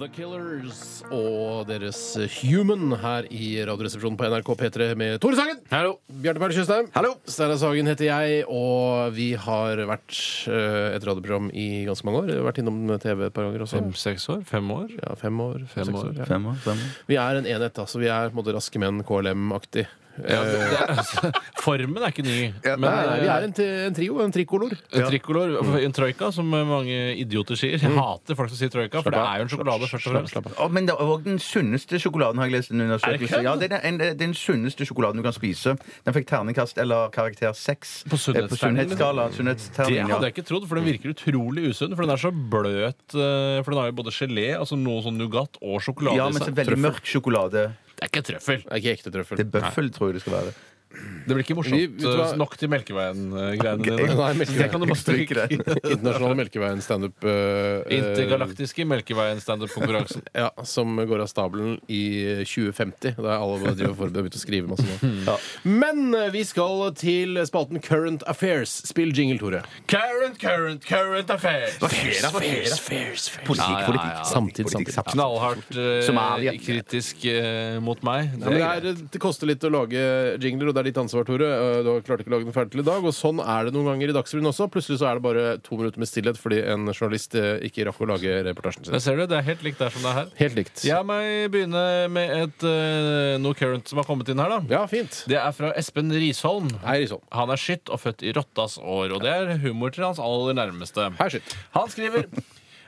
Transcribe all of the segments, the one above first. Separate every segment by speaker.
Speaker 1: The Killers og deres Human her i Radioresepsjonen på NRK P3 med Tore Sagen.
Speaker 2: Hallo.
Speaker 1: Bjarte Berg Tjøstheim.
Speaker 2: Hallo.
Speaker 1: Steinar Sagen heter jeg, og vi har vært eh, et radioprogram i ganske mange år. Vært innom TV et par ganger også.
Speaker 2: Fem-seks år? Fem år?
Speaker 1: Ja, fem år.
Speaker 2: Fem
Speaker 1: seks
Speaker 2: år.
Speaker 1: ja.
Speaker 3: Fem år, fem år.
Speaker 1: Vi er en enhet, da, så vi er på en måte Raske menn, KLM-aktig.
Speaker 2: Ja, det, det, er- altså, formen er ikke ny. Men eh,
Speaker 1: Nei, nei, vi er en, t- en trio, en trikolor.
Speaker 2: en trikolor, en troika, som mange idioter sier. Jeg hater folk som sier troika, for det er jo en sjokolade, først og fremst.
Speaker 1: Mm. av.
Speaker 3: Å, men det er òg den sunneste sjokoladen, har jeg lest
Speaker 2: Er
Speaker 3: en
Speaker 2: det
Speaker 3: undersøkelse.
Speaker 2: kødd?
Speaker 3: Ja, det er den, det er den sunneste sjokoladen du kan spise. Den fikk terningkast eller karakter seks.
Speaker 2: På
Speaker 3: Eh, På
Speaker 2: sunnhetsterningen.
Speaker 3: sunnhetsskala.
Speaker 2: Det
Speaker 3: Sunnhetsterning,
Speaker 2: hadde
Speaker 3: ja.
Speaker 2: jeg ikke trodd, for den virker utrolig usunn. For den er så bløt. eh, For den har jo både gelé, altså noe sånn nougat og sjokolade
Speaker 3: Ja,
Speaker 2: i
Speaker 3: men så
Speaker 2: seg.
Speaker 3: veldig
Speaker 2: Trøffel.
Speaker 3: mørk sjokolade.
Speaker 2: Det er ikke trøffel.
Speaker 1: Det er ikke ekte trøffel.
Speaker 3: Det er bøffel, tror jeg det skal være.
Speaker 2: Det blir ikke morsomt
Speaker 1: Vi- vet du hva?
Speaker 2: eh, nok til Melkeveien-greiene
Speaker 1: Nei,
Speaker 2: dine. Det
Speaker 1: Melkeveien.
Speaker 2: kan du bare
Speaker 3: Stryk
Speaker 2: stryke.
Speaker 3: det.
Speaker 1: Internasjonale Melkeveien standup eh,
Speaker 2: Intergalaktiske Melkeveien-standup-konkurransen.
Speaker 1: eh, Ja, som går av stabelen i 2050. Da er alle bare driver og forbereder å skrive masse nå. Men eh, vi skal til spalten Current Affairs. Spill jingle, Tore.
Speaker 2: Current, current, current affairs!
Speaker 3: Politikk, politikk.
Speaker 1: Samtid,
Speaker 3: Politikk,
Speaker 1: samtid.
Speaker 3: samtid.
Speaker 2: Knallhardt eh,
Speaker 3: Somalia.
Speaker 2: kritisk eh, mot meg.
Speaker 1: Ja, men det, er, eh, det koster litt å lage jingler, og det er ditt ansvar, Tore. Eh, Du har klart ikke å lage den ferdig til i dag, og sånn er det noen ganger i Dagsrevyen også. Plutselig så er det bare to minutter med stillhet fordi en journalist eh, ikke rakk å lage reportasjen
Speaker 2: Der
Speaker 1: sin.
Speaker 2: ser du, det er helt likt der som det er her.
Speaker 1: Helt likt.
Speaker 2: Jeg må begynne med et eh, noe current som har kommet inn her, da.
Speaker 1: Ja, fint.
Speaker 2: Det er fra Espen Risholm.
Speaker 1: Hei, Risholm.
Speaker 2: Han er skytt og født i rottas år, og det er humor til hans aller nærmeste.
Speaker 1: Hei, skytt.
Speaker 2: Han skriver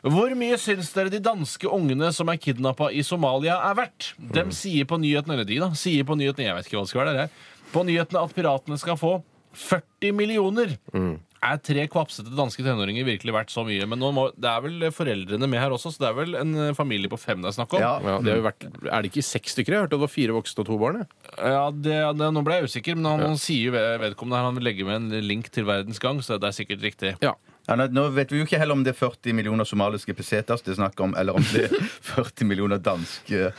Speaker 2: hvor mye syns dere de danske ungene som er kidnappa i Somalia, er verdt? Dem sier på nyhetene eller de da, sier på nyhetene, jeg vet ikke hva det skal være der, jeg, på nyhetene at piratene skal få 40 millioner. Er tre kvapsete danske tenåringer virkelig verdt så mye? Men nå må, det er vel foreldrene med her også, så det er vel en eh, familie på fem det er snakk om?
Speaker 3: Ja.
Speaker 1: Ja, det har jo vært, er det ikke seks stykker? Jeg hørte det var fire voksne og to barn. jeg.
Speaker 2: Ja, det, det, nå ble jeg usikker, men han sier jo ved- vedkommende her, han vil legge med en link til verdens gang, så det er sikkert riktig.
Speaker 1: Ja.
Speaker 3: Ja, nå- nå vet vi jo ikke heller om det er 40 millioner somaliske pesetas det er snakk om, eller om det er 40 millioner eh, danske
Speaker 2: Ja,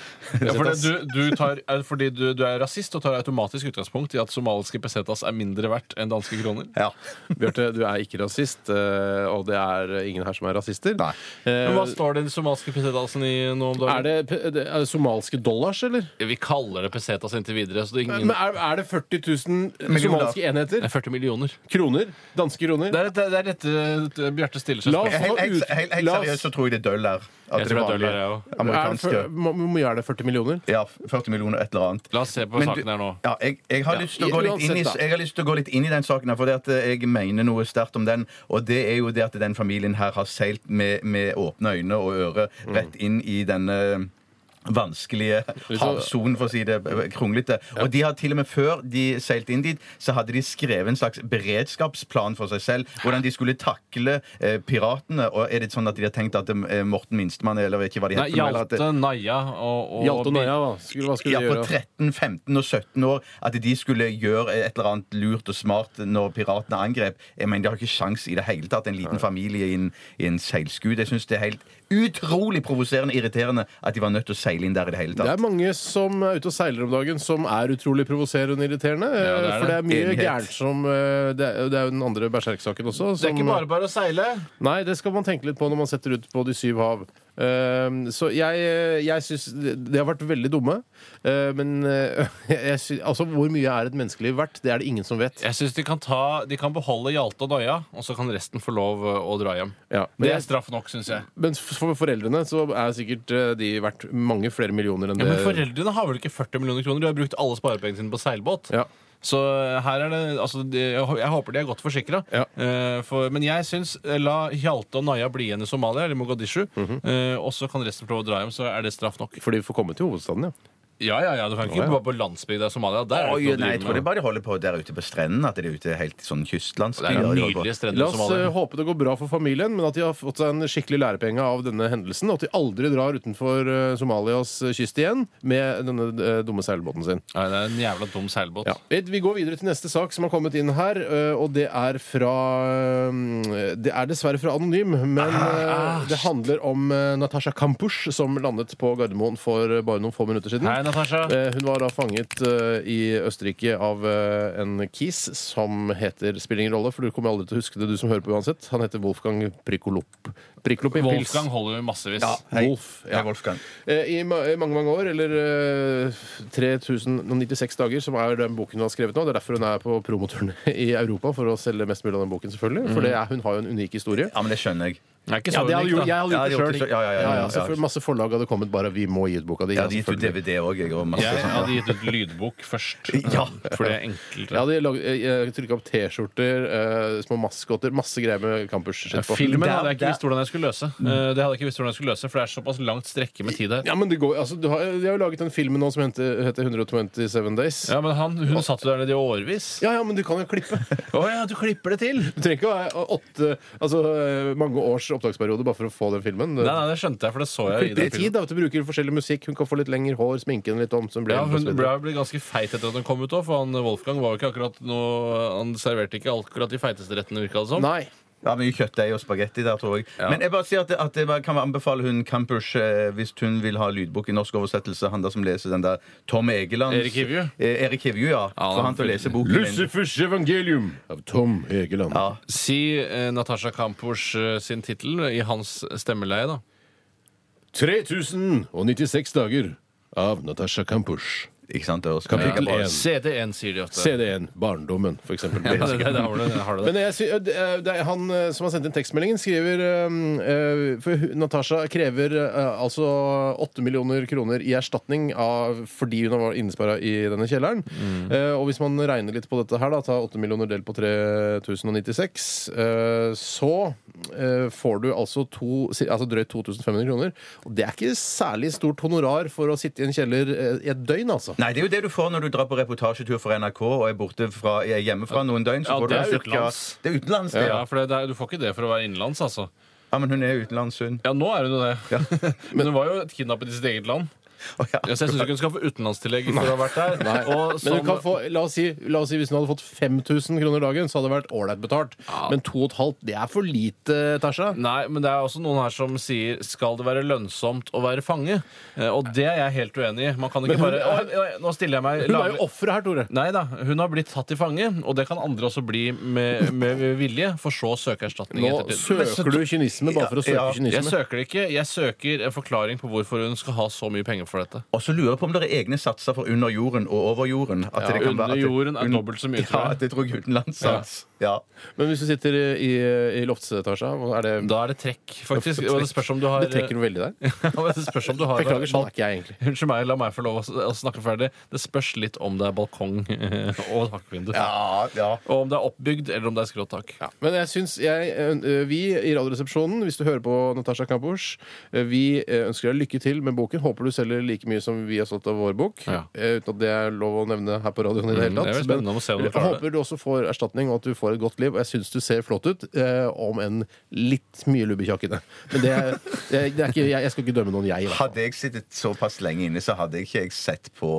Speaker 2: for det, du, du tar, er det fordi du, du er rasist og tar automatisk utgangspunkt i at somaliske pesetas er mindre verdt enn danske kroner?
Speaker 3: Ja.
Speaker 1: Bjarte, du er ikke rasist, eh, og det er ingen her som er rasister.
Speaker 3: Nei.
Speaker 1: Eh,
Speaker 2: Men hva står den somaliske pesetasen i nå
Speaker 1: Er
Speaker 2: om dagen?
Speaker 1: det, p- det- er det somalske dollars, eller?
Speaker 2: Vi kaller det pesetas inntil videre. Så det er ingen...
Speaker 1: Men er, er det 40 000
Speaker 3: Millioner.
Speaker 1: somaliske enheter?
Speaker 2: Det er 40 millioner.
Speaker 1: Kroner? Danske kroner?
Speaker 2: Det er, det er dette eh, Bjarte stiller seg
Speaker 1: La oss-
Speaker 2: spørsmål.
Speaker 3: Helt, helt, helt, helt
Speaker 1: La oss-
Speaker 3: seriøst så tror jeg det er døll her. At
Speaker 2: Jeg tror det er døll her,
Speaker 3: vanlige
Speaker 2: jeg også.
Speaker 1: Er det
Speaker 3: Amerikanske.
Speaker 1: fyr- må, må gjøre det 40 millioner?
Speaker 3: Ja, 40 millioner, et eller annet.
Speaker 2: La oss se på
Speaker 3: Men
Speaker 2: saken
Speaker 3: du-
Speaker 2: her nå.
Speaker 3: Ja, jeg, jeg, har
Speaker 1: Ja,
Speaker 3: lyst til å gå litt inn i,
Speaker 1: uansett, da.
Speaker 3: jeg har lyst til å gå litt inn i den saken, her, for det at eh, jeg mener noe sterkt om den. Og det er jo det at den familien her har seilt med, med åpne øyne og ører
Speaker 2: Mm.
Speaker 3: rett inn i denne vanskelige havsonen, for å si det eh, kronglete. Og de har til og med før de seilte inn dit, så hadde de skrevet en slags beredskapsplan for seg selv. Hvordan de skulle takle eh, piratene. Og er det sånn at de har tenkt at eh, Morten Minstemann, eller ikke hva de
Speaker 2: Nei,
Speaker 3: heter for noe, eller at det-
Speaker 2: Hjalte, Naja og, og
Speaker 1: Hjalte og Naja, hva skulle, hva skulle
Speaker 3: ja,
Speaker 1: de
Speaker 3: på
Speaker 1: gjøre?
Speaker 3: 13, 15 og 17 år at de skulle gjøre et eller annet lurt og smart når piratene angrep. Jeg mener, De har ikke sjans i det hele tatt, en liten familie i en, i en seilskude. Jeg syns det er helt utrolig provoserende og irriterende at de var nødt til å seile inn der i det hele
Speaker 1: Det er
Speaker 3: tatt.
Speaker 1: mange som er ute og seiler om dagen som er utrolig provoserende og irriterende. eh,
Speaker 2: det er
Speaker 1: For det er mye
Speaker 3: Enighet.
Speaker 1: gærent som eh, Det er det er jo den andre berserksaken også.
Speaker 2: Det er
Speaker 1: som-
Speaker 2: ikke bare bare å seile.
Speaker 1: Nei, det skal man tenke litt på når man setter ut på de syv hav. Ehm, så jeg, jeg syns De har vært veldig dumme. eh, men eh, jeg sy altså, hvor mye er et menneskeliv verdt? Det er det ingen som vet.
Speaker 2: Jeg syns de, kan ta- de kan beholde Hjalte og Naja, og så kan resten få lov eh, å dra hjem.
Speaker 1: Ja, men
Speaker 2: Det
Speaker 1: jeg-
Speaker 2: er straff nok, syns jeg.
Speaker 1: Men for foreldrene så er sikkert eh, de verdt mange flere millioner enn
Speaker 2: Ja,
Speaker 1: det.
Speaker 2: men foreldrene har vel ikke 40 millioner kroner? De har brukt alle sparepengene sine på seilbåt.
Speaker 1: Ja.
Speaker 2: Så her er det, altså, de, jeg hå- jeg håper de er godt forsikra.
Speaker 1: Ja.
Speaker 2: men jeg syns eh, la Hjalte og Naja bli igjen i Somalia, eller Mogadishu.
Speaker 1: Mhm.
Speaker 2: eh, og så kan resten få lov å dra hjem, så er det straff nok.
Speaker 1: For de får komme til hovedstaden, ja.
Speaker 2: Ja, ja, ja, Du kan ikke
Speaker 1: Å, ja.
Speaker 2: bare på landsbygda i Somalia. Der er det
Speaker 3: Oi,
Speaker 2: ikke noe å
Speaker 3: nei, jeg
Speaker 2: drive
Speaker 3: tror det
Speaker 2: med.
Speaker 3: er bare de holder på der ute på strendene, at de er ute helt i sånn
Speaker 2: Det er
Speaker 3: kystlandsbyer. de holder på.
Speaker 2: nydelige strender
Speaker 1: La
Speaker 2: i
Speaker 1: oss eh,
Speaker 2: Somalia.
Speaker 1: håpe det går bra for familien, men at de har fått seg en skikkelig lærepenge av denne hendelsen, og at de aldri drar utenfor eh, Somalias eh, kyst igjen med denne eh, dumme seilbåten sin.
Speaker 2: Nei, det er en jævla dum seilbåt.
Speaker 1: Ja. Ed, Vi går videre til neste sak som har kommet inn her, eh, og det er fra eh, Det er dessverre fra Anonym, men
Speaker 2: Ah,
Speaker 1: eh, det handler om eh, Natasha Kampusch som landet på Gardermoen for eh, bare noen få minutter siden.
Speaker 2: Hei, Natasha?
Speaker 1: Eh, Hun var da fanget eh, i Østerrike av eh, en kis som heter Spiller ingen rolle, for du kommer aldri til å huske det, du som hører på uansett. Han heter Wolfgang Prikolop. Prikolop i pils.
Speaker 2: Wolfgang holder jo massevis.
Speaker 3: Hei.
Speaker 1: Wolf, ja.
Speaker 3: Hei, Wolfgang.
Speaker 1: Eh, I ma i mange mange år, eller eh, 3096 dager, som er den boken hun har skrevet nå. Det er derfor hun er på promoturné i Europa, for å selge mest mulig av den boken, selvfølgelig. For det er, hun har jo en unik historie.
Speaker 3: Ja, men det skjønner
Speaker 2: Det er
Speaker 3: jeg.
Speaker 2: ikke
Speaker 1: Mm. Ja,
Speaker 2: så
Speaker 1: det hadde
Speaker 2: unikt,
Speaker 1: gjort, jeg
Speaker 2: da.
Speaker 1: hadde
Speaker 3: Ja, de
Speaker 1: gjort
Speaker 3: gjorde
Speaker 1: det
Speaker 3: det
Speaker 1: sjøl.
Speaker 3: selv. Ja, ja, ja, ja, ja.
Speaker 1: selvfølgelig. Masse forlag hadde kommet bare 'Vi må gi ut boka di'. ja,
Speaker 3: Ja, de gikk jo
Speaker 1: selvfølgelig.
Speaker 3: DVD òg, jeg. Og masse
Speaker 2: Jeg
Speaker 3: sånn.
Speaker 2: hadde gitt ut lydbok først. eh,
Speaker 3: Ja.
Speaker 2: For det er enklere.
Speaker 1: Jeg hadde lag- jeg- jeg trykket opp T-skjorter, eh, små maskotter, masse greier med campus.
Speaker 2: Ja, Filmen hadde jeg ikke visst hvordan jeg skulle løse. Eh, Det hadde jeg ikke visst hvordan jeg skulle løse, For det er såpass langt strekke med tid her.
Speaker 1: Mm. Ja, men det går, altså, du har, De har jo laget en film nå som heter, heter 127 Days. Ja.
Speaker 2: Ja, men han, Hun satt jo der nede i årevis.
Speaker 1: ja, men du kan jo klippe.
Speaker 2: Å ja, du klipper det til!
Speaker 1: Du trenger ikke å ha åtte, altså, eh, mange års opptaksperiode bare for å få den filmen.
Speaker 2: Nei, nei, det skjønte jeg, for det så jeg i
Speaker 1: Klipper i
Speaker 2: den
Speaker 1: tid,
Speaker 2: filmen.
Speaker 1: da, at du bruker forskjellig musikk. Hun kan få litt lengre hår, sminke den litt om. Så hun blir
Speaker 2: Ja,
Speaker 1: og
Speaker 2: hun
Speaker 1: så videre.
Speaker 2: ble, ble ganske feit etter at hun kom ut òg, for han Wolfgang var jo ikke akkurat noe Han serverte ikke akkurat de feiteste rettene, virka det som.
Speaker 1: Nei.
Speaker 3: Ja, mye kjøttdeig og spagetti der, tror jeg. Men jeg bare sier at, at jeg bare kan anbefale hun Campers, eh, hvis hun vil ha lydbok i norsk oversettelse, han der som leser den der Tom Egeland
Speaker 2: Erik Hivju?
Speaker 3: Eh, Erik Hivju, ja.
Speaker 2: Ja,
Speaker 3: For han til å lese boken min.
Speaker 1: Lucifers evangelium av Tom Hegeland.
Speaker 3: Ja.
Speaker 2: Si eh, Natasha Kampors eh, sin tittel i hans stemmeleie, da.
Speaker 1: 3096 dager av Natasha Kampusch.
Speaker 3: Ikke sant? Det høres
Speaker 1: Kapittel
Speaker 3: bra ut.
Speaker 1: En.
Speaker 2: CD1, sier de ofte.
Speaker 1: CD1 Barndommen, for eksempel.
Speaker 2: Ja, det, det, det, har du det, det har du det.
Speaker 1: Men jeg sy øh, det er- det er han øh, som har sendt inn tekstmeldingen, skriver øhm, øh, For hun- Natasha krever øh, altså 8 millioner kroner i erstatning av, fordi hun var innesperra i denne kjelleren. Eh, og hvis man regner litt på dette her, da, ta 8 millioner delt på 3096, eh, så eh, får du altså, to, si- altså drøyt 2500 kroner. Og det er ikke særlig stort honorar for å sitte i en kjeller eh, i et døgn, altså.
Speaker 3: Nei, det er jo det du får når du drar på reportasjetur for NRK og er borte fra, jeg er hjemmefra noen døgn. Så
Speaker 2: Ja,
Speaker 3: får
Speaker 2: det er
Speaker 3: du cirka-
Speaker 2: utenlands.
Speaker 3: Det er utenlands, det,
Speaker 2: Ja,
Speaker 3: ja.
Speaker 2: for det, det, er- Du får ikke det for å være innenlands, altså.
Speaker 3: ja. Men hun er utenlands, hun.
Speaker 2: Ja, nå er hun jo det. Men hun var jo kidnappet i sitt eget land.
Speaker 3: Å, ja.
Speaker 2: Ja, Så jeg syns ikke hun skal få utenlandstillegg for å ha vært der.
Speaker 1: Nei.
Speaker 2: Og
Speaker 1: men
Speaker 2: som,
Speaker 1: du kan få, la, oss si, la oss si hvis hun hadde fått 5000 kroner dagen, så hadde det vært ålreit betalt. Men 2,5 det er for lite, Tasha.
Speaker 2: Nei, men det er også noen her som sier skal det være lønnsomt å være fange? Eh, Og det er jeg helt uenig i. Man kan ikke
Speaker 1: Men hun-
Speaker 2: bare Å, nei, Nå stiller jeg meg
Speaker 1: Hun er jo offeret her, Tore.
Speaker 2: Nei da, hun har blitt tatt til fange, og det kan andre også bli med, med vilje, for så å søke erstatning
Speaker 1: Nå
Speaker 2: ettertid.
Speaker 1: søker du kynisme bare for å søke
Speaker 3: Ja, ja.
Speaker 2: Jeg
Speaker 1: kynisme.
Speaker 2: søker det ikke. Jeg søker en forklaring på hvorfor hun skal ha så mye penger for dette.
Speaker 3: Og så lurer jeg på om det er egne satser for under jorden og over jorden. At det kan være-
Speaker 2: Under
Speaker 3: at det-
Speaker 2: jorden er
Speaker 3: un-
Speaker 2: dobbelt så mye,
Speaker 3: Ja,
Speaker 2: tror
Speaker 3: at
Speaker 2: jeg.
Speaker 3: det tror jeg utenlands sats. Ja.
Speaker 1: Men hvis du sitter i, i loftsetasja, er det
Speaker 2: Da er det trekk, faktisk. Og det spørs om du har
Speaker 1: Det trekker noe veldig der.
Speaker 2: Det spørs om du har
Speaker 1: Beklager, sånn er ikke jeg egentlig.
Speaker 2: Unnskyld meg, la meg få lov å s- å snakke ferdig. Det spørs litt om det er balkong eh, og takvindu.
Speaker 3: Ja, ja.
Speaker 2: Og om det er oppbygd, eller om det er skråtak.
Speaker 1: Ja, men jeg syns jeg, ø, vi i Radioresepsjonen, hvis du hører på Natasha Kampusch, ø, vi ø, ønsker deg lykke til med boken. Håper du selger like mye som vi har solgt av vår bok.
Speaker 2: Ja.
Speaker 1: ø, Uten at det er lov å nevne her på radioen i det
Speaker 2: Mm,
Speaker 1: hele
Speaker 2: det er
Speaker 1: tatt.
Speaker 2: vel spennende å se om du
Speaker 1: jeg
Speaker 2: klarer det.
Speaker 1: håper du også får erstatning, og at du får et godt liv. Og jeg syns du ser flott ut, ø, om enn litt mye lubbekjakk i det. Men det er, det er ikke, jeg, jeg skal ikke dømme noen, jeg. i hvert fall.
Speaker 3: Hadde jeg sittet såpass lenge inne, så hadde jeg ikke jeg sett på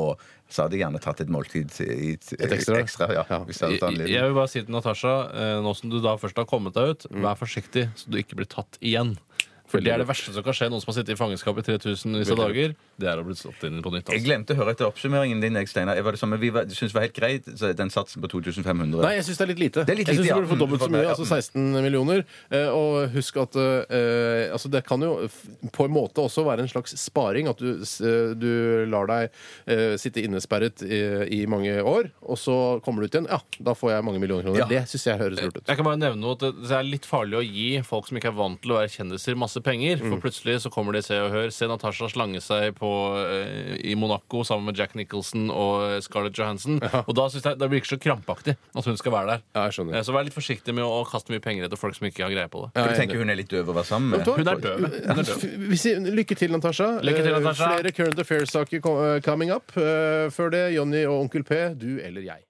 Speaker 3: Så hadde jeg gjerne tatt et måltid i,
Speaker 1: Et ekstra?
Speaker 3: ja,
Speaker 1: Ja.
Speaker 3: Hvis jeg
Speaker 2: Jeg
Speaker 3: hadde hatt anledning.
Speaker 2: jeg vil bare si til Natasha, eh, nå som du da først har kommet deg ut, vær forsiktig så du ikke blir tatt igjen. For det er det verste som kan skje noen som har sittet i fangenskap i 3000 visse dager. Det er å bli slått inn på nytt.
Speaker 3: Jeg
Speaker 2: Altså.
Speaker 3: glemte å høre etter oppsummeringen din. Jeg, Steinar. Jeg var det samme. Vi var, synes det var helt greit, så den satsen på 2500.
Speaker 1: Nei, jeg syns det er litt lite.
Speaker 3: Det er litt
Speaker 1: jeg synes
Speaker 3: lite,
Speaker 1: du
Speaker 3: ja.
Speaker 1: burde få dobbelt så
Speaker 3: Mm,
Speaker 1: mye,
Speaker 3: ja.
Speaker 1: altså 16 millioner. Eh, Og husk at eh, altså det kan jo f- på en måte også være en slags sparing, at du, s- eh, du lar deg eh, sitte innesperret i, i mange år, og så kommer du ut igjen. Ja, da får jeg mange millioner kroner.
Speaker 3: Ja.
Speaker 1: Det syns jeg høres lurt ut.
Speaker 2: Jeg kan bare nevne noe at Det det er litt farlig å gi folk som ikke er vant til å være kjendiser, masse penger. For
Speaker 1: Mm.
Speaker 2: plutselig så kommer de i Se og Hør. Se Natasha slange seg på, eh, i Monaco sammen med Jack Nicholson og eh, Scarlett Johansson. Og da, synes jeg, da blir det ikke så krampaktig at hun skal være der.
Speaker 1: Ja, jeg skjønner.
Speaker 2: Eh, Så vær litt forsiktig med å kaste mye penger etter folk som ikke har greie på det.
Speaker 3: For du tenker hun er litt døv å være sammen med?
Speaker 1: Tor?
Speaker 2: Hun er død. Hun er død.
Speaker 1: Vi sier lykke til, Natasha.
Speaker 2: Lykke til,
Speaker 1: Eh,
Speaker 2: Natasha.
Speaker 1: Flere Current Affairs-saker ko- eh, coming up. Eh, Før det, Jonny og Onkel P, du eller jeg.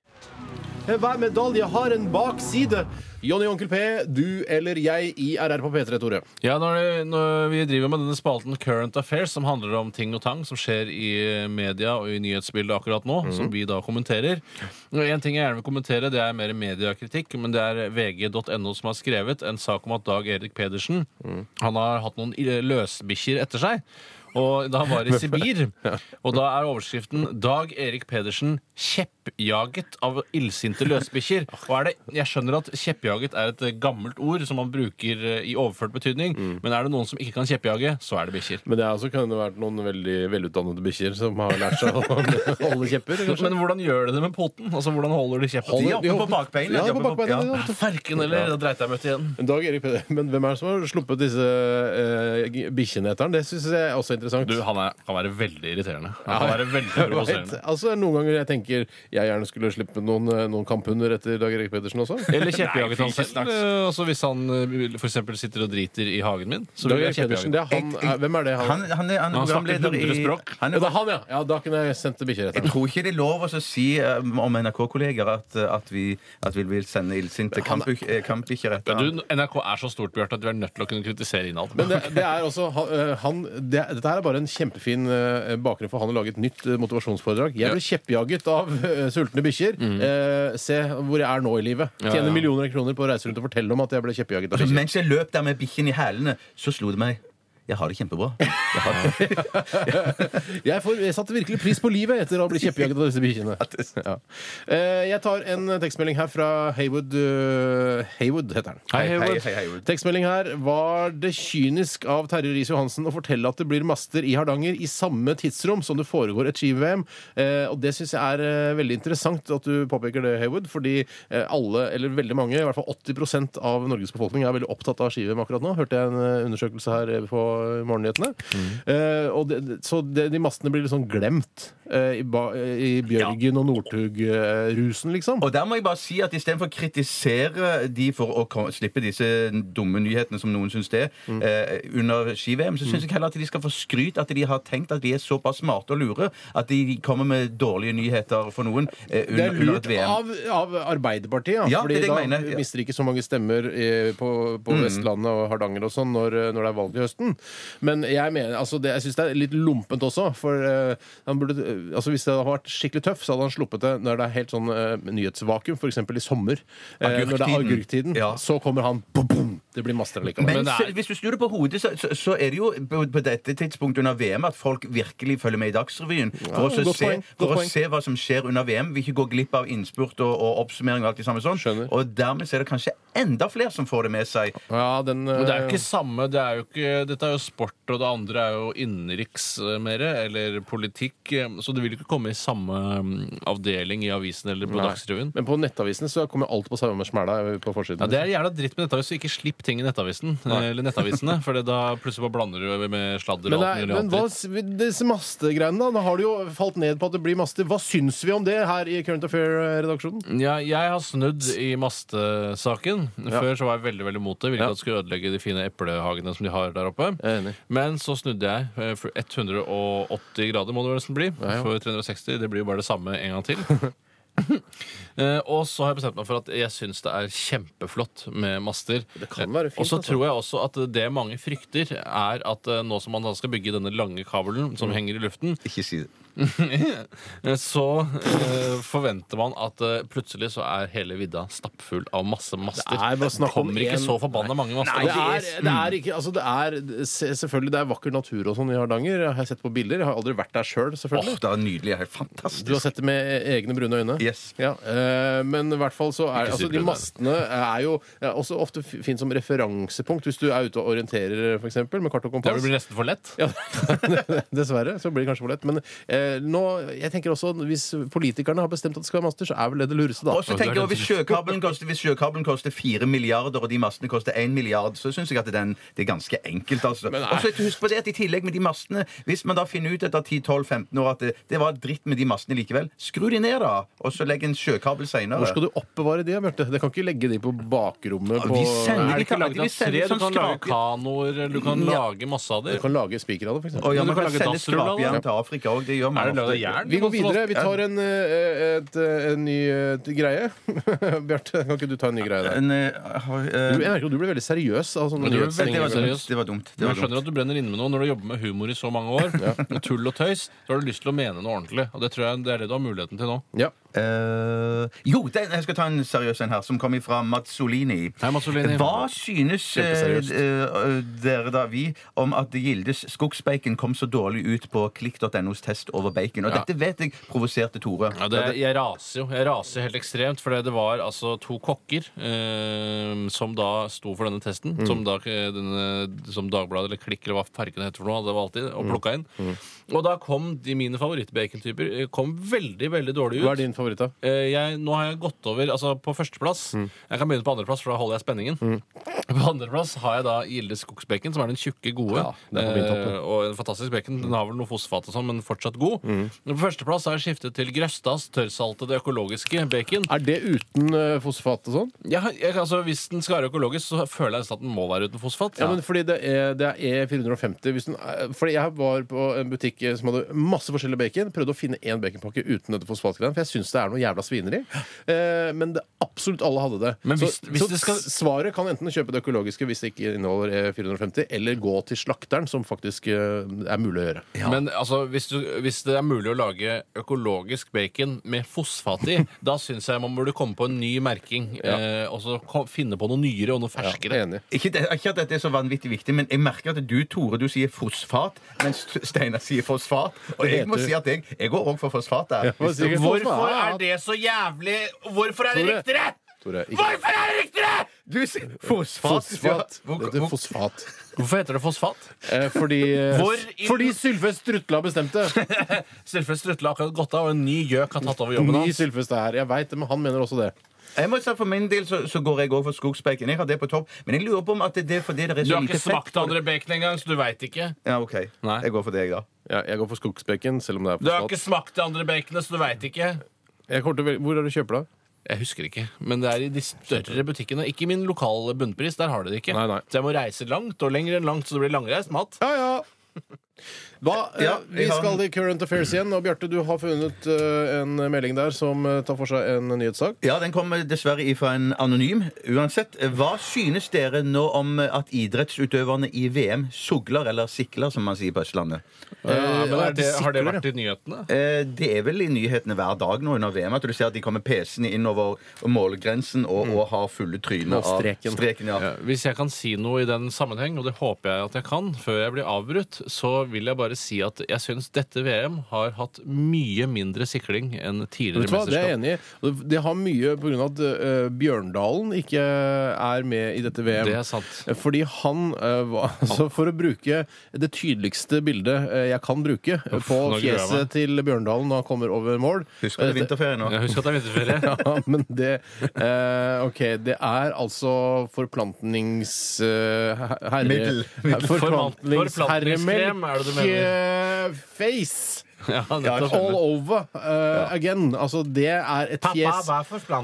Speaker 1: Eh, Hver medalje har en bakside. Jonny og Onkel P, du eller jeg i RR på P3, Tore.
Speaker 2: Ja, når, det, når Vi driver med denne spalten Current Affairs, som handler om ting og tang som skjer i media og i nyhetsbildet akkurat nå, som vi da kommenterer. Og En ting jeg gjerne vil kommentere, det er mer mediekritikk, men det er vg.no som har skrevet en sak om at Dag Erik Pedersen han har hatt noen i- løsbikkjer etter seg. Og da han var i Sibir. Og da er overskriften 'Dag Erik Pedersen kjeppjaget av illsinte løsbikkjer'. Og er det, jeg skjønner at kjeppjaget er et eh, gammelt ord som man bruker eh, i overført betydning, men er det noen som ikke kan kjeppjage, så er det bikkjer.
Speaker 1: Men det er også, kan det ha vært noen veldig velutdannede bikkjer som har lært seg å holde kjepper. kanskje?
Speaker 2: Men hvordan gjør de det med poten? Altså, Hvordan holder de kjeppen?
Speaker 3: De er oppe på bakbeinet.
Speaker 1: Ja,
Speaker 3: De er
Speaker 1: på
Speaker 3: oppe på-
Speaker 1: bakbeina.
Speaker 3: ja.
Speaker 1: ja.
Speaker 2: Ferken, eller? Da dreit jeg meg ut igjen.
Speaker 1: Men Dag Erik Peder, men hvem er det som har sluppet disse eh, g- bikkjene etter han? Det syns jeg er også er interessant.
Speaker 2: Du, han er, kan være veldig irriterende. Han kan være veldig
Speaker 1: Jeg vet.
Speaker 2: provoserende.
Speaker 1: Altså, det er Noen ganger jeg tenker jeg gjerne skulle slippe noen, eh, noen kamphunder etter Dag Erik Pedersen også.
Speaker 2: Eller kjeppjaget
Speaker 3: Nei,
Speaker 2: han
Speaker 3: fy, ikke
Speaker 2: selv.
Speaker 3: snakk.
Speaker 2: Eh, Altså Hvis han eh, for eksempel sitter og driter i hagen min, så
Speaker 1: Dag
Speaker 2: vil jeg
Speaker 1: Erik Pedersen,
Speaker 2: kjeppjage.
Speaker 1: det er han, er, Hvem er det han?
Speaker 3: Han, han er, han er
Speaker 2: Han snakker
Speaker 3: programleder
Speaker 2: 100
Speaker 3: i
Speaker 2: språk.
Speaker 1: ja,
Speaker 3: han er,
Speaker 1: det er han, ja! ja da kunne jeg sendt bikkjer etter
Speaker 3: Jeg
Speaker 1: ham.
Speaker 3: tror ikke det er lov å så si eh, om NRK-kolleger at, at, vi, at vi vil sende illsinte kampbik- eh, kampbikkjer etter
Speaker 2: Du,
Speaker 3: han.
Speaker 2: NRK er så stort, Bjarte, at du er nødt til å kunne kritisere innhold.
Speaker 1: Men det, det er også han, eh, han det, Dette her er bare en kjempefin eh, bakgrunn for han å lage et nytt eh, motivasjonsforedrag. Jeg ble kjeppjaget av eh, sultne bikkjer. Eh, se hvor jeg er nå i livet. Tjener
Speaker 2: ja.
Speaker 1: millioner av kroner på å reise rundt og fortelle om at jeg ble kjeppjaget av
Speaker 3: Så
Speaker 1: bikkjer.
Speaker 3: mens jeg løp der med bikkjen i hælene, så slo det meg. Jeg har det kjempebra. Jeg har det.
Speaker 1: Jeg, får, jeg satte virkelig pris på livet etter å bli kjeppjaget av disse bikkjene. Ja. Eh, Jeg tar en tekstmelding her fra Haywood. eh, Haywood heter han.
Speaker 2: Hei,
Speaker 3: Hei,
Speaker 2: Howard.
Speaker 3: hei, hei, Wood.
Speaker 1: Tekstmelding her. Var det kynisk av Terje Riis-Johansen å fortelle at det blir master i Hardanger i samme tidsrom som det foregår et ski-VM? Eh, og det syns jeg er eh, veldig interessant at du påpeker det, Haywood, fordi eh, alle, eller veldig mange, i hvert fall 80 av Norges befolkning er veldig opptatt av ski-VM akkurat nå. Hørte jeg en eh, undersøkelse her eh, på Morgennyhetene. Eh, og det, det- så det, de mastene blir liksom glemt eh, i, ba, i Bjørgen og Northug-rusen, liksom.
Speaker 3: Og der må jeg bare si at istedenfor å kritisere de for å kom- slippe disse dumme nyhetene som noen syns det,
Speaker 1: Mm.
Speaker 3: eh, under ski-VM, så syns jeg heller at de skal få skryt at de har tenkt at de er såpass smarte og lure at de kommer med dårlige nyheter for noen eh,
Speaker 1: Det
Speaker 3: under,
Speaker 1: er
Speaker 3: under
Speaker 1: lurt
Speaker 3: et VM.
Speaker 1: av, av Arbeiderpartiet, ja.
Speaker 3: Ja,
Speaker 1: Fordi
Speaker 3: det er det
Speaker 1: da
Speaker 3: jeg mener, ja. Mm.
Speaker 1: mister de ikke så mange stemmer eh, på, på Vestlandet og Hardanger og sånn når, eh, når det er valg i høsten. Men jeg mener, altså det, jeg syns det er litt lumpent også, for eh, han burde, eh, altså hvis det hadde vært skikkelig tøff, så hadde han sluppet det når det er helt sånn eh, nyhetsvakuum, f.eks. i sommer. Eh, når det er
Speaker 3: Agurktiden.
Speaker 1: agurktiden,
Speaker 3: Ja.
Speaker 1: så kommer han bom, bom, Det blir master likevel.
Speaker 3: Men
Speaker 2: Men det er-
Speaker 3: selv- hvis du snur det på hodet, så, så, så er det jo på, på dette tidspunktet under VM at folk virkelig følger med i Dagsrevyen. For,
Speaker 1: Ja,
Speaker 3: å,
Speaker 1: godt
Speaker 3: se,
Speaker 1: poeng, godt
Speaker 3: for å
Speaker 1: poeng.
Speaker 3: se hva som skjer under VM. Vi ikke går glipp av innspurt og, og oppsummering og alt det samme sånn.
Speaker 1: Skjønner.
Speaker 3: Og dermed så er det kanskje enda flere som får det med seg.
Speaker 1: ja, den,
Speaker 2: Men det er jo
Speaker 1: eh,
Speaker 2: ikke samme. Det er jo ikke, dette er jo sport, og det andre er jo innenriks eh, mer, eller politikk. eh, Så det vil ikke komme i samme mm, avdeling i avisen eller på
Speaker 1: nei.
Speaker 2: Dagsrevyen.
Speaker 1: Men på nettavisene så kommer alt på samme smæla eh, på forsiden.
Speaker 2: Ja, Det er jævla dritt med nettavisen. Ikke slipp ting i nettavisen. eh, Eller nettavisene, for da plutselig bare blander du med sladder
Speaker 1: Men,
Speaker 2: og
Speaker 1: det,
Speaker 2: alt
Speaker 1: er-
Speaker 2: mulig
Speaker 1: men
Speaker 2: annet
Speaker 1: hva,
Speaker 2: dritt.
Speaker 1: disse mastegreiene, da? Nå har det jo falt ned på at det blir master. Hva syns vi om det her i Current Affair-redaksjonen?
Speaker 2: Ja, jeg har snudd i mastesaken. Før så var jeg veldig veldig mot det. Ville ikke at det skulle ødelegge de fine eplehagene som de har der oppe.
Speaker 1: Jeg er enig.
Speaker 2: Men så snudde jeg. eh, for 180 grader må det vel nesten bli.
Speaker 1: ja.
Speaker 2: For 360 det blir jo bare det samme en gang til. Eh, og så har jeg bestemt meg for at jeg syns det er kjempeflott med master. Eh,
Speaker 1: Det kan være fint,
Speaker 2: Og så
Speaker 1: altså.
Speaker 2: tror jeg også at det mange frykter, er at eh, nå som man da skal bygge denne lange kabelen
Speaker 1: Mm.
Speaker 2: som henger i luften,
Speaker 3: Ikke si det.
Speaker 2: så eh, forventer man at eh, plutselig så er hele vidda stappfull av masse master.
Speaker 1: Det er bare snakk om
Speaker 2: kommer ikke
Speaker 1: en-
Speaker 2: så forbanna mange master.
Speaker 1: Det er, det er ikke altså det er, se- Selvfølgelig det er vakker natur og sånn i Hardanger. Jeg har sett på bilder. Jeg har aldri vært der sjøl, selv,
Speaker 3: Åh,
Speaker 1: selvfølgelig.
Speaker 3: det er nydelig. Helt
Speaker 1: Du har
Speaker 3: fantastisk.
Speaker 1: sett det med e- egne brune øyne?
Speaker 3: Yes.
Speaker 1: Ja, eh, men i hvert fall så er altså, de
Speaker 2: superbrune.
Speaker 1: mastene er jo er også ofte f- fint som referansepunkt hvis du er ute og orienterer, f.eks. med kart og
Speaker 2: Det
Speaker 1: kompass.
Speaker 2: blir nesten for lett.
Speaker 1: Ja, dessverre. Så blir det kanskje for lett. Men eh, nå, jeg tenker også hvis politikerne har bestemt at det skal være master, så er vel det det lureste, da.
Speaker 3: Og så tenker jeg også, hvis sjøkabelen, koster, hvis sjøkabelen koster 4 milliarder, og de mastene koster 1 milliard, så syns jeg at den, det er ganske enkelt. Altså.
Speaker 1: nei.
Speaker 3: Og så husk på det at i tillegg med de mastene Hvis man da finner ut etter 10-12-15 år at det, det var dritt med de mastene likevel, skru de ned, da! Og så legg en sjøkabel
Speaker 1: Hvor
Speaker 3: seinere.
Speaker 1: skal du oppbevare de, Bjarte? Det kan ikke legge de på bakrommet på
Speaker 3: Vi
Speaker 2: Er
Speaker 3: sender
Speaker 2: det
Speaker 3: de
Speaker 2: ikke lagd av
Speaker 3: Vi
Speaker 2: tre?
Speaker 3: sender
Speaker 2: Du
Speaker 3: sånn
Speaker 2: kan lage
Speaker 3: skrape-
Speaker 2: kanoer, eller du kan
Speaker 3: Ja.
Speaker 2: lage masse av
Speaker 1: Du
Speaker 2: det.
Speaker 1: kan lage spiker av det, f.eks.
Speaker 3: Å, ja,
Speaker 2: Men du kan
Speaker 3: man kan
Speaker 2: lage
Speaker 3: sende
Speaker 2: dassruller, da.
Speaker 3: skrapjern til Afrika òg. Det gjør man.
Speaker 2: Er det lagd av
Speaker 3: ofte.
Speaker 2: jern? Sånn
Speaker 1: Vi går videre. Vi tar en, eh, et, eh, en ny eh, greie. Bjarte, kan ikke du ta en ny greie der?
Speaker 3: En, eh, har- eh,
Speaker 1: Du, jeg merker at du blir veldig seriøs av sånne
Speaker 2: Men du er
Speaker 1: nyhetsting.
Speaker 3: det, var dumt,
Speaker 2: seriøst.
Speaker 3: det var dumt. Det var
Speaker 2: Jeg
Speaker 3: dumt.
Speaker 2: skjønner at du brenner inne med noe når du jobber med humor i så mange år. Og tull og tøys. Så har du lyst til å mene noe ordentlig. Og det tror jeg det er det du har muligheten til nå.
Speaker 1: Ja.
Speaker 3: Eh, jo, den, jeg skal ta en seriøs en her, som kommer fra Mazzolini.
Speaker 2: Hei, Mazzolini.
Speaker 3: Hva synes eh,
Speaker 1: Kjempeseriøst.
Speaker 3: eh, dere, da, vi, om at Gildes skogsbacon kom så dårlig ut på klikk.nos test over bacon? Og
Speaker 2: Ja.
Speaker 3: dette vet jeg provoserte Tore.
Speaker 2: Ja, det, jeg raser jo. Jeg raser helt ekstremt, for det var altså to kokker eh, som da sto for denne testen, som, da, denne, som Dagbladet eller Klikk eller hva fargen heter for noe, hadde valgt inn og plukka inn. Og da kom de mine favorittbacontyper eh, kom veldig, veldig dårlig ut.
Speaker 1: Hva er din favoritt, da?
Speaker 2: Eh, jeg, nå har jeg gått over altså på førsteplass.
Speaker 1: Mm.
Speaker 2: Jeg kan begynne på andreplass, for da holder jeg spenningen. På andreplass har jeg da Gilde skogsbacon, som er den tjukke, gode.
Speaker 1: Ja, det er på min topp, det.
Speaker 2: eh, og en fantastisk bacon. Den har vel noe fosfat og sånn, men fortsatt god.
Speaker 1: Mm.
Speaker 2: På førsteplass har jeg skiftet til Grøstas tørrsaltede økologiske bacon.
Speaker 1: Er det uten eh, fosfat og sånn?
Speaker 2: Jeg, har- jeg, altså, hvis den skal være økologisk, så føler jeg nesten at den må være uten fosfat.
Speaker 1: Ja, men fordi det er, det er E450 hvis den, er- Fordi jeg var på en butikk eh, som hadde masse forskjellig bacon Prøvde å finne en baconpakke uten dette fosfatgreiene For jeg synes det er noe jævla svineri eh, Men det, absolutt alle hadde det
Speaker 2: Men hvis-
Speaker 1: Så,
Speaker 2: hvis
Speaker 1: så
Speaker 2: det skal-
Speaker 1: svaret kan enten kjøpe det økologiske Hvis det ikke inneholder E450 Eller gå til slakteren som faktisk eh, er mulig å gjøre
Speaker 2: Men altså, hvis, du, hvis det er mulig å lage økologisk bacon med fosfat i, da syns jeg man burde komme på en ny merking. Eh, og så ko- finne på noe nyere og noe ferskere.
Speaker 1: Enig
Speaker 3: Ikke, det, ikke at dette er så vanvittig viktig, men jeg merker at du, Tore, du sier fosfat, mens Steinar sier fosfat. Og jeg må
Speaker 1: heter-
Speaker 3: si at jeg, jeg går òg for fosfat der.
Speaker 1: hva sier du?
Speaker 2: Hvorfor er det så jævlig Hvorfor er det
Speaker 1: Tore.
Speaker 2: riktigere?
Speaker 1: Tore, ikke-
Speaker 2: Hvorfor er det riktigere?
Speaker 3: Du sier fosfat!
Speaker 1: Fosfat
Speaker 3: Hvor-
Speaker 1: Det heter
Speaker 3: hvor-
Speaker 1: fosfat
Speaker 2: Hvorfor heter det fosfat?
Speaker 1: eh, Fordi,
Speaker 2: Hvor i-
Speaker 1: fordi Sylfe Strutla bestemte
Speaker 2: Sylfe Strutle har akkurat gått av, og en ny gjøk har tatt over jobben
Speaker 1: Ny
Speaker 2: hans.
Speaker 1: Sylfe det her Jeg vet det, men han mener også det
Speaker 3: Jeg må si For min del så, så går jeg òg for skogsbacon. Jeg har det på topp. Men jeg lurer på om at det er fordi det
Speaker 2: Du
Speaker 3: er så
Speaker 2: har
Speaker 3: lite
Speaker 2: ikke smakt
Speaker 3: på det.
Speaker 2: andre bacon engang, så du veit ikke.
Speaker 3: Ja, OK.
Speaker 2: Nei.
Speaker 3: Jeg går for deg, da.
Speaker 1: ja, Jeg går for skogsbacon, selv om det er
Speaker 2: Du har
Speaker 1: fosfat
Speaker 2: ikke smakt det andre baconet, så du veit ikke.
Speaker 1: Jeg kommer til å velge, Hvor er det du kjøper det?
Speaker 2: Jeg husker ikke, men det er i de større butikkene. Ikke min lokale bunnpris. Der har de det ikke.
Speaker 1: Nei, nei.
Speaker 2: Så jeg må reise langt og lenger enn langt, så det blir langreist mat.
Speaker 1: Ja, ja. Da, eh,
Speaker 3: Ja,
Speaker 1: vi
Speaker 3: vi har-
Speaker 1: skal til Current Affairs igjen. Og Bjarte, du har funnet eh, en melding der som eh, tar for seg en nyhetssak.
Speaker 3: Ja, Den kommer dessverre ifra en anonym. Uansett, hva synes dere nå om at idrettsutøverne i VM sugler, eller sikler, som man sier på Østlandet?
Speaker 1: Eh,
Speaker 2: men
Speaker 1: og
Speaker 2: er
Speaker 1: at de
Speaker 2: det, har det
Speaker 1: sikler,
Speaker 2: vært i nyhetene?
Speaker 3: Eh, Det er vel i nyhetene hver dag nå under VM at du ser at de kommer pesende innover målgrensen og, og har fulle tryner
Speaker 1: Og streken.
Speaker 3: av streken. Ja.
Speaker 2: Mm. Ja, Hvis jeg kan si noe i den sammenheng, og det håper jeg at jeg kan før jeg blir avbrutt, så vil jeg bare si at jeg syns dette VM har hatt mye mindre sikling enn
Speaker 1: Vet
Speaker 2: tidligere
Speaker 1: du hva, Det er jeg
Speaker 2: mesterskap.
Speaker 1: enig i. Og Det, det har mye pga. at eh, Bjørndalen ikke er med i dette VM.
Speaker 2: Det er sant.
Speaker 1: Fordi han eh, var altså For å bruke det tydeligste bildet eh, jeg kan bruke eh, på
Speaker 2: nå gruer jeg meg.
Speaker 1: fjeset til Bjørndalen når han kommer over mål eh,
Speaker 3: Husker du vinterferien nå?
Speaker 2: Jeg husker at det er vinterferie.
Speaker 1: Ja, men det eh, OK. Det er altså forplantnings... Eh, herre,
Speaker 3: Middel.
Speaker 2: Forplantningskrem,
Speaker 1: Forplantningsherremelk
Speaker 2: er det du mener?
Speaker 1: eh, face!
Speaker 2: Ja, nettopp.
Speaker 1: All over eh, again. Altså, det er et
Speaker 2: Pappa,
Speaker 1: fjes
Speaker 2: hva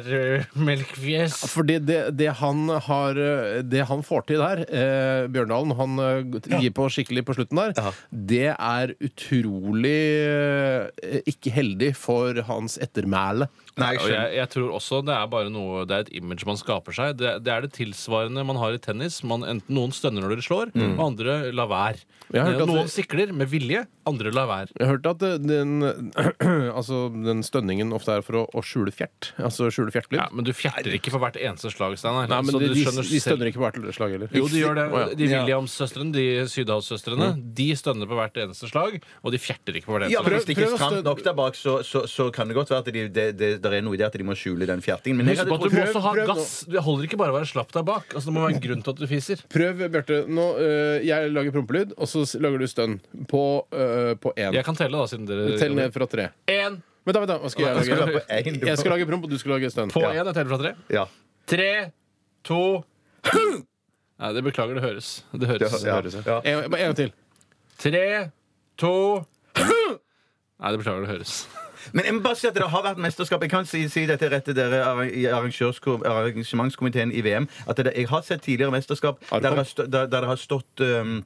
Speaker 2: er forplantningsherremelkfjes?
Speaker 1: fordi det, det, han har, eh, det han får til der, eh, Bjørndalen, han eh, gir på skikkelig på slutten der, det er utrolig eh, ikke heldig for hans ettermæle.
Speaker 3: Nei, jeg
Speaker 2: Og
Speaker 3: skjønner.
Speaker 2: jeg, jeg tror også det er bare noe Det er et image man skaper seg. Det, det er det tilsvarende man har i tennis. Man, enten noen stønner når de slår, og andre lar være.
Speaker 1: Mm.
Speaker 2: Eh,
Speaker 1: Jeg har hørt at
Speaker 2: Noen
Speaker 1: det-
Speaker 2: sikler med vilje, andre lar være.
Speaker 1: Jeg hørte at eh, den, altså, den stønningen ofte er for å, å skjule fjert. Altså skjule fjertlyd.
Speaker 2: Ja, men du fjerter ikke for hvert eneste slag, Steinar.
Speaker 1: Nei, men
Speaker 2: Så
Speaker 1: de,
Speaker 2: du
Speaker 1: de, de
Speaker 2: skjønner selv-
Speaker 1: stønner ikke på hvert slag heller.
Speaker 2: Jo, de gjør det.
Speaker 1: Å, ja. Mm.
Speaker 2: De Williams-søstrene, de Sydhavs-søstrene, de stønner på hvert eneste slag, og de fjerter ikke på hvert eneste
Speaker 3: Ja, men
Speaker 2: slag.
Speaker 3: Hvis det ikke
Speaker 1: prøv
Speaker 3: er
Speaker 1: å
Speaker 3: stramt
Speaker 1: stø-
Speaker 3: nok der bak, så, så, så kan det godt være at de, det, det, der er noe i det at de må skjule den fjertingen. Men jeg
Speaker 2: Husk
Speaker 3: hadde
Speaker 2: på at du
Speaker 3: trodd-
Speaker 2: må også ha
Speaker 1: prøv Mm. nå.
Speaker 2: gass. Det holder ikke bare å være slapp der bak. Altså, det må være en grunn til at du fiser.
Speaker 1: Prøv, Bjarte. Nå, eh, jeg lager prompelyd, og så s- lager du stønn på, eh, på én.
Speaker 2: Jeg kan telle, da, siden dere
Speaker 1: Tell ned fra tre.
Speaker 2: Én
Speaker 1: Vent, da, vent, da. Hva skal
Speaker 3: Jeg
Speaker 1: jeg lage?
Speaker 3: skal være på en, du
Speaker 1: Jeg skal
Speaker 3: må-
Speaker 1: lage promp, og du skal lage stønn.
Speaker 2: på én. Jeg teller fra tre.
Speaker 3: Ja.
Speaker 2: Tre, to Nei, det beklager. Det høres. Det høres.
Speaker 3: Ja, ja.
Speaker 1: En, bare en gang til.
Speaker 2: Tre, to Nei, det beklager. Det høres.
Speaker 3: Men jeg må bare si at det har vært mesterskap. Jeg kan si, si dette rett til dere arra- i arrangørsko- arrangementskomiteen i VM. At det, jeg har sett tidligere mesterskap der,
Speaker 1: Har du
Speaker 3: det har stå- der, der det har stått um,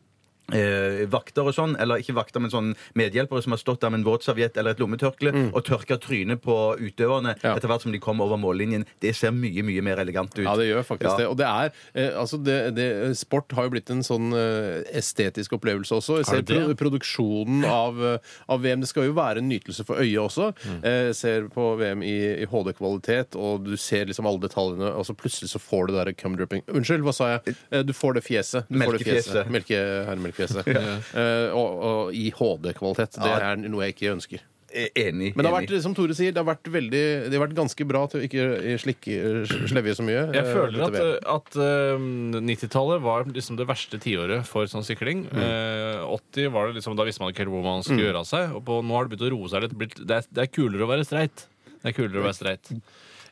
Speaker 3: eh, vakter og sånn, eller ikke vakter, men sånn medhjelpere som har stått der med en våtserviett eller et lommetørkle og tørka trynet på utøverne
Speaker 1: Mm. Ja.
Speaker 3: etter hvert som de kom over mållinjen. Det ser mye, mye mer elegant ut.
Speaker 1: Ja, det gjør faktisk
Speaker 3: Ja.
Speaker 1: det. Og det er, eh, altså det, det, sport har jo blitt en sånn eh, estetisk opplevelse også. Jeg
Speaker 2: Er
Speaker 1: ser
Speaker 2: det det?
Speaker 1: pro produksjonen av, eh, av VM. Det skal jo være en nytelse for øyet også.
Speaker 3: Mm.
Speaker 1: Eh, Jeg ser på VM i, i HD-kvalitet, og du ser liksom alle detaljene, og så plutselig så får du det der cumdripping. Unnskyld, hva sa jeg? Eh, Du får det fjeset. Du får det
Speaker 3: Melkefjeset.
Speaker 1: fjeset. Melke, herremelkefjeset. Eh, Og, og i HD-kvalitet. Det
Speaker 3: Ja.
Speaker 1: er noe jeg ikke ønsker.
Speaker 3: Eh, Enig.
Speaker 1: Men det har
Speaker 3: enig.
Speaker 1: vært, som Tore sier, det har vært, veldig, det har vært ganske bra til å ikke slikke slevje så mye.
Speaker 2: Jeg
Speaker 1: eh,
Speaker 2: føler
Speaker 1: dette
Speaker 2: at,
Speaker 1: VM.
Speaker 2: at eh, 90-tallet var liksom det verste tiåret for sånn sikling. Eh, 80 var det liksom, Da visste man ikke helt hvor man skulle gjøre av seg. Og på, nå har det begynt å roe seg litt. Blitt- Det er, det er kulere å være streit. Det er kulere å være streit.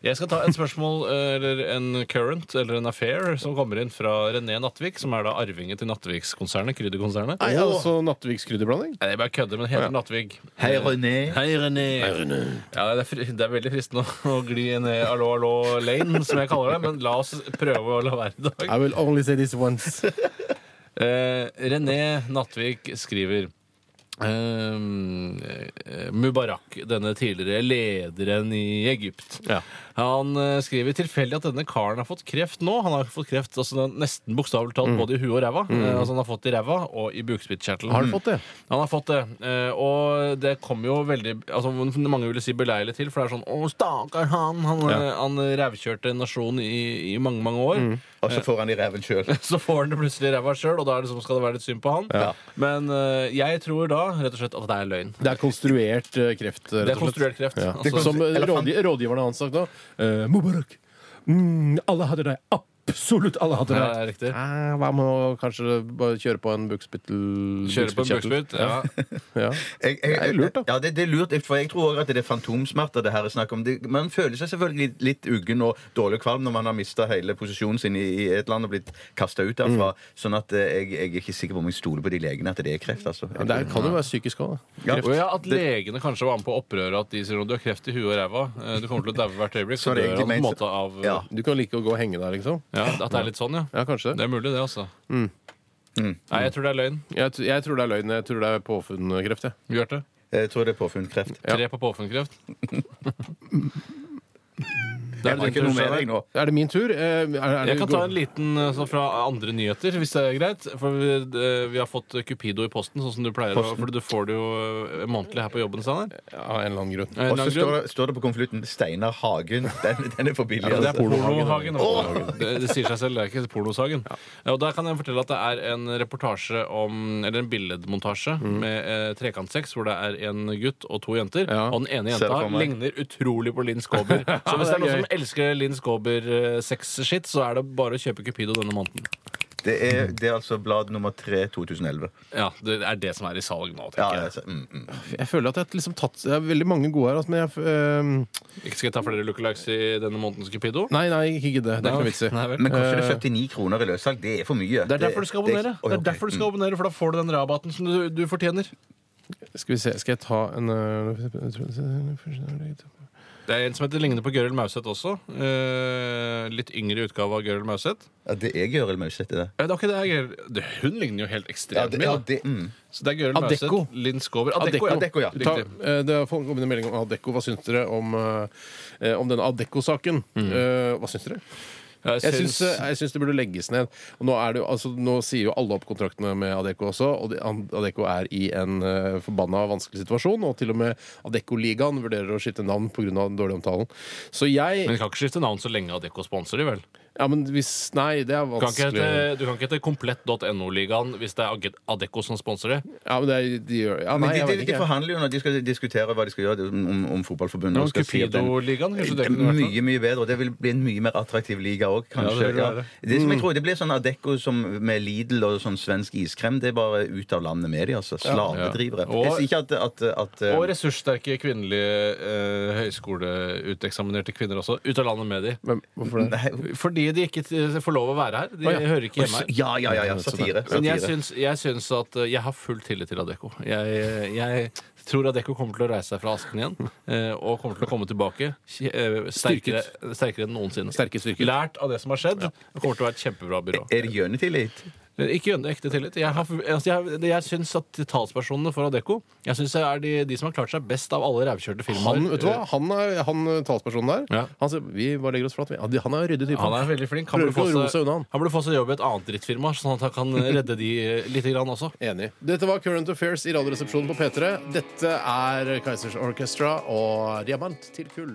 Speaker 2: Jeg skal ta et spørsmål, eh, eller en current, eller en affair, som kommer inn fra René Nattvik, som er da arvingen til Nattvikskonsernet, krydderkonsernet.
Speaker 1: Nei, altså Nattviks krydderblanding?
Speaker 2: Nei, jeg bare kødder, men heter Nattvig.
Speaker 3: Hei, René.
Speaker 2: Hei, René. Ja, det, er fri, det er veldig fristende å, å gli ned Allo, allo, lane, som jeg kaller det. Men la oss prøve å la være i dag.
Speaker 1: I will only say this once.
Speaker 2: Eh, René Nattvik skriver ehm, eh, Mubarak, denne tidligere lederen i Egypt.
Speaker 1: Ja.
Speaker 2: Han eh, skriver tilfeldig at denne karen har fått kreft nå. Han har fått kreft altså, den- nesten bokstavelig talt både i huet og ræva. Eh, altså, han har fått det i ræva og i bukspyttkjertelen. Mm.
Speaker 1: Har du fått det?
Speaker 2: Han har fått det, eh, og det kom jo veldig altså, Mange ville si beleilig til, for det er sånn 'Å, stakkar han! Han, eh, han rævkjørte en nasjon i, i mange, mange år.'
Speaker 3: Og så får han i ræven sjøl.
Speaker 2: Så får han det plutselig i ræva sjøl, og da er det som skal det være litt synd på han. Men eh, jeg tror da rett og slett at det er løgn.
Speaker 1: Det er konstruert eh, kreft, eh, rett
Speaker 2: Det er
Speaker 1: og slett.
Speaker 2: konstruert kreft.
Speaker 1: Ja.
Speaker 2: Altså,
Speaker 1: som eh,
Speaker 3: Eller
Speaker 1: rådgi rådgiverne hans sagt da. eh, Mubarak, mm, alle hadde deg. Absolutt alle hadde
Speaker 2: ja,
Speaker 1: deg.
Speaker 2: det er riktig.
Speaker 1: Eh, Hva med å kanskje bare kjøre på en bukspyttel
Speaker 2: Kjøre på en
Speaker 1: bukspyttkjertel?
Speaker 2: bukspytt. Ja.
Speaker 1: Ja.
Speaker 3: Jeg, jeg,
Speaker 1: Det er lurt, da.
Speaker 3: Ja, det, det er lurt, for jeg tror også at det er fantomsmerter det her er snakk om. Det, man føler seg selvfølgelig litt, litt uggen og dårlig kvalm når man har mista hele posisjonen sin i, i et land og blitt kasta ut derfra. Sånn at eh, jeg, jeg er ikke sikker på om jeg stoler på de legene at det er kreft, altså.
Speaker 1: Men Det er- kan jo være psykisk òg.
Speaker 3: Ja.
Speaker 2: Og ja, At legene kanskje var med på opprøret, at de sier at du har kreft i huet og ræva. eh, Du kommer til å daue hvert øyeblikk. Så
Speaker 3: Så det er
Speaker 2: dør han på en
Speaker 3: egentlig ment-
Speaker 2: måte av
Speaker 3: Ja.
Speaker 1: Du kan like å gå og henge deg, liksom.
Speaker 2: Ja, At det er litt sånn, ja.
Speaker 1: Ja, kanskje
Speaker 2: Det
Speaker 1: det.
Speaker 2: er mulig, det, altså.
Speaker 3: Mm.
Speaker 2: Nei, jeg tror det er løgn.
Speaker 1: Jeg, t- jeg tror det er løgn. Jeg tror det er påfunnkreft. jeg.
Speaker 2: Bjarte?
Speaker 3: Jeg tror det er påfunnkreft.
Speaker 1: Ja.
Speaker 2: Tre på påfunnkreft?
Speaker 3: Det er ikke noe mer jeg nå.
Speaker 1: Er det min tur? Eh, Er, er
Speaker 2: Jeg
Speaker 1: det-
Speaker 2: kan ta en liten eh, sånn fra andre nyheter, hvis det er greit. For vi, eh, vi har fått Cupido i posten, sånn som du pleier. å- For du får det jo eh, månedlig her på jobben. Steinar.
Speaker 1: Ja, Av en eller annen grunn.
Speaker 2: Eh,
Speaker 3: Og så
Speaker 2: lang
Speaker 3: står,
Speaker 2: grunn.
Speaker 3: det- står det på konvolutten 'Steinar Hagen'. Den, den er for billig.
Speaker 2: Ja, det er
Speaker 3: altså.
Speaker 2: Pornohagen. altså. Det, det sier seg selv, det er ikke Pornoshagen. Ja, Og der kan jeg fortelle at det er en reportasje om Eller en billedmontasje med eh, trekantsex hvor det er en gutt og to jenter.
Speaker 1: Ja.
Speaker 2: Og den ene
Speaker 3: Ser det
Speaker 2: jenta
Speaker 3: for meg.
Speaker 2: ligner utrolig på Linn Skåber. Så
Speaker 1: det
Speaker 2: hvis det
Speaker 1: er
Speaker 2: er noen
Speaker 1: gøy.
Speaker 2: som elsker Linn Skåber-sex-shit, så er det bare å kjøpe Cupido denne måneden.
Speaker 3: Det er, det er altså blad nummer 3 2011.
Speaker 2: Ja, Det er det som er i salg nå,
Speaker 3: Ja,
Speaker 2: tenker jeg.
Speaker 3: altså, mm, mm.
Speaker 1: Jeg føler at jeg har liksom tatt Det er veldig mange gode her, altså, men jeg ehm,
Speaker 2: Ikke skal jeg ta flere lookalikes i denne månedens Cupido?
Speaker 1: Nei, nei, ikke gidd det. Det er ikke noe vits i.
Speaker 2: Nei vel.
Speaker 3: Men koster det 49 kroner i løssalg? Det er for mye.
Speaker 2: Eh. Det er derfor du skal
Speaker 3: det er-
Speaker 2: abonnere,
Speaker 3: Oi,
Speaker 2: Det er
Speaker 3: ok. mm.
Speaker 2: derfor du skal abonnere, for da får du den rabatten som du, du fortjener.
Speaker 1: Skal vi se, skal jeg ta en eh, øh,
Speaker 2: Det er en som heter Lignende på Gøril Mauseth også. Eh, litt yngre utgave av Gøril Mauseth.
Speaker 3: Ja, det er Gøril Mauseth, det.
Speaker 2: Eh, det er ikke det, Gøril- det, hun ligner jo helt
Speaker 3: Ja,
Speaker 2: ekstremt
Speaker 3: det,
Speaker 2: mye.
Speaker 3: ja,
Speaker 2: da.
Speaker 3: det, mm.
Speaker 2: Så det er Gøril
Speaker 1: Adecco.
Speaker 2: Mauseth, Linn Skåber Adecco, ja.
Speaker 3: Adecco, ja.
Speaker 1: Ta,
Speaker 2: Riktig.
Speaker 1: eh, det har kommet en melding om Adecco. Hva syns dere om, eh, om denne Adecco-saken? Eh, hva syns dere? Jeg syns, eh, jeg syns det burde legges ned. Og nå, er det jo, altså, nå sier jo alle opp kontraktene med Adecco også, og de- An- Adecco er i en eh, forbanna vanskelig situasjon. Og til og med Adecco-ligaen vurderer å skifte navn pga. den dårlige omtalen. Så jeg
Speaker 2: Men du kan ikke skifte navn så lenge Adecco sponser de, vel?
Speaker 1: Ja, men hvis Nei, det er
Speaker 2: Du kan
Speaker 1: vanskelig.
Speaker 2: ikke hete, du kan ikke hete komplett.no-ligaen hvis det er Ag- Adecco som sponser de.
Speaker 1: Ja, men det er, de gjør ja,
Speaker 3: Men
Speaker 1: nei, jeg
Speaker 3: de,
Speaker 1: vet
Speaker 3: de,
Speaker 1: ikke,
Speaker 3: de
Speaker 1: jeg.
Speaker 3: forhandler jo når de skal diskutere hva de skal gjøre om, om fotballforbundet. og skal si at den-
Speaker 2: Cupido-ligaen, kanskje
Speaker 3: det
Speaker 2: det
Speaker 3: er
Speaker 2: kunne vært noe?
Speaker 3: mye mye bedre, og det vil bli en mye mer attraktiv liga òg, kanskje.
Speaker 2: Ja, det vil
Speaker 3: Ja,
Speaker 2: det være. Mm.
Speaker 3: det, som jeg tror, det blir sånn Adecco som med Lidl og sånn svensk iskrem. Det er bare ut av landet med de, altså. Slavedrivere.
Speaker 2: Ja. Og-
Speaker 3: Jeg sier ikke at, at, eh, at
Speaker 2: Og ressurssterke kvinnelige eh, høyskoleuteksaminerte kvinner også. Ut av landet med de.
Speaker 1: Men hvorfor det?
Speaker 3: Nei,
Speaker 2: Fordi de ikke eh, får lov å være her. De
Speaker 1: Å, ja.
Speaker 2: hører ikke hjemme her.
Speaker 3: Ja, ja, ja. ja satire.
Speaker 2: Men jeg
Speaker 3: satire.
Speaker 2: syns, jeg syns at eh, jeg har full tillit til Adecco. Jeg, jeg tror Adecco kommer til å reise seg fra asken igjen eh, og kommer til å komme tilbake eh, sterkere, sterkere enn noensinne.
Speaker 1: Sterke styrker.
Speaker 2: Lært av det som har skjedd. og Kommer til å være et kjempebra byrå. Eh,
Speaker 3: Er det gjønetillit?
Speaker 2: Ikke en ekte tillit. Jeg, har, altså, jeg, jeg syns at talspersonene for Adecco Jeg synes det er de, de som har klart seg best av alle rævkjørte firmaer.
Speaker 1: Han, vet du hva? Han, er, han eh, talspersonen der
Speaker 2: Ja.
Speaker 1: han, sier, Vi bare legger oss flat. vi. Ja, de- Han er en ryddig type.
Speaker 2: Han er veldig flink. Han
Speaker 1: sånn. Prøver
Speaker 2: burde, få
Speaker 1: ikke å roe seg
Speaker 2: seg,
Speaker 1: unna, han.
Speaker 2: han burde få seg jobb i et annet drittfirma, sånn at han kan redde de eh, lite grann også.
Speaker 1: Enig. Dette var Current Affairs i Radioresepsjonen på P3. Dette er Kaizers Orchestra og Diamant til kull.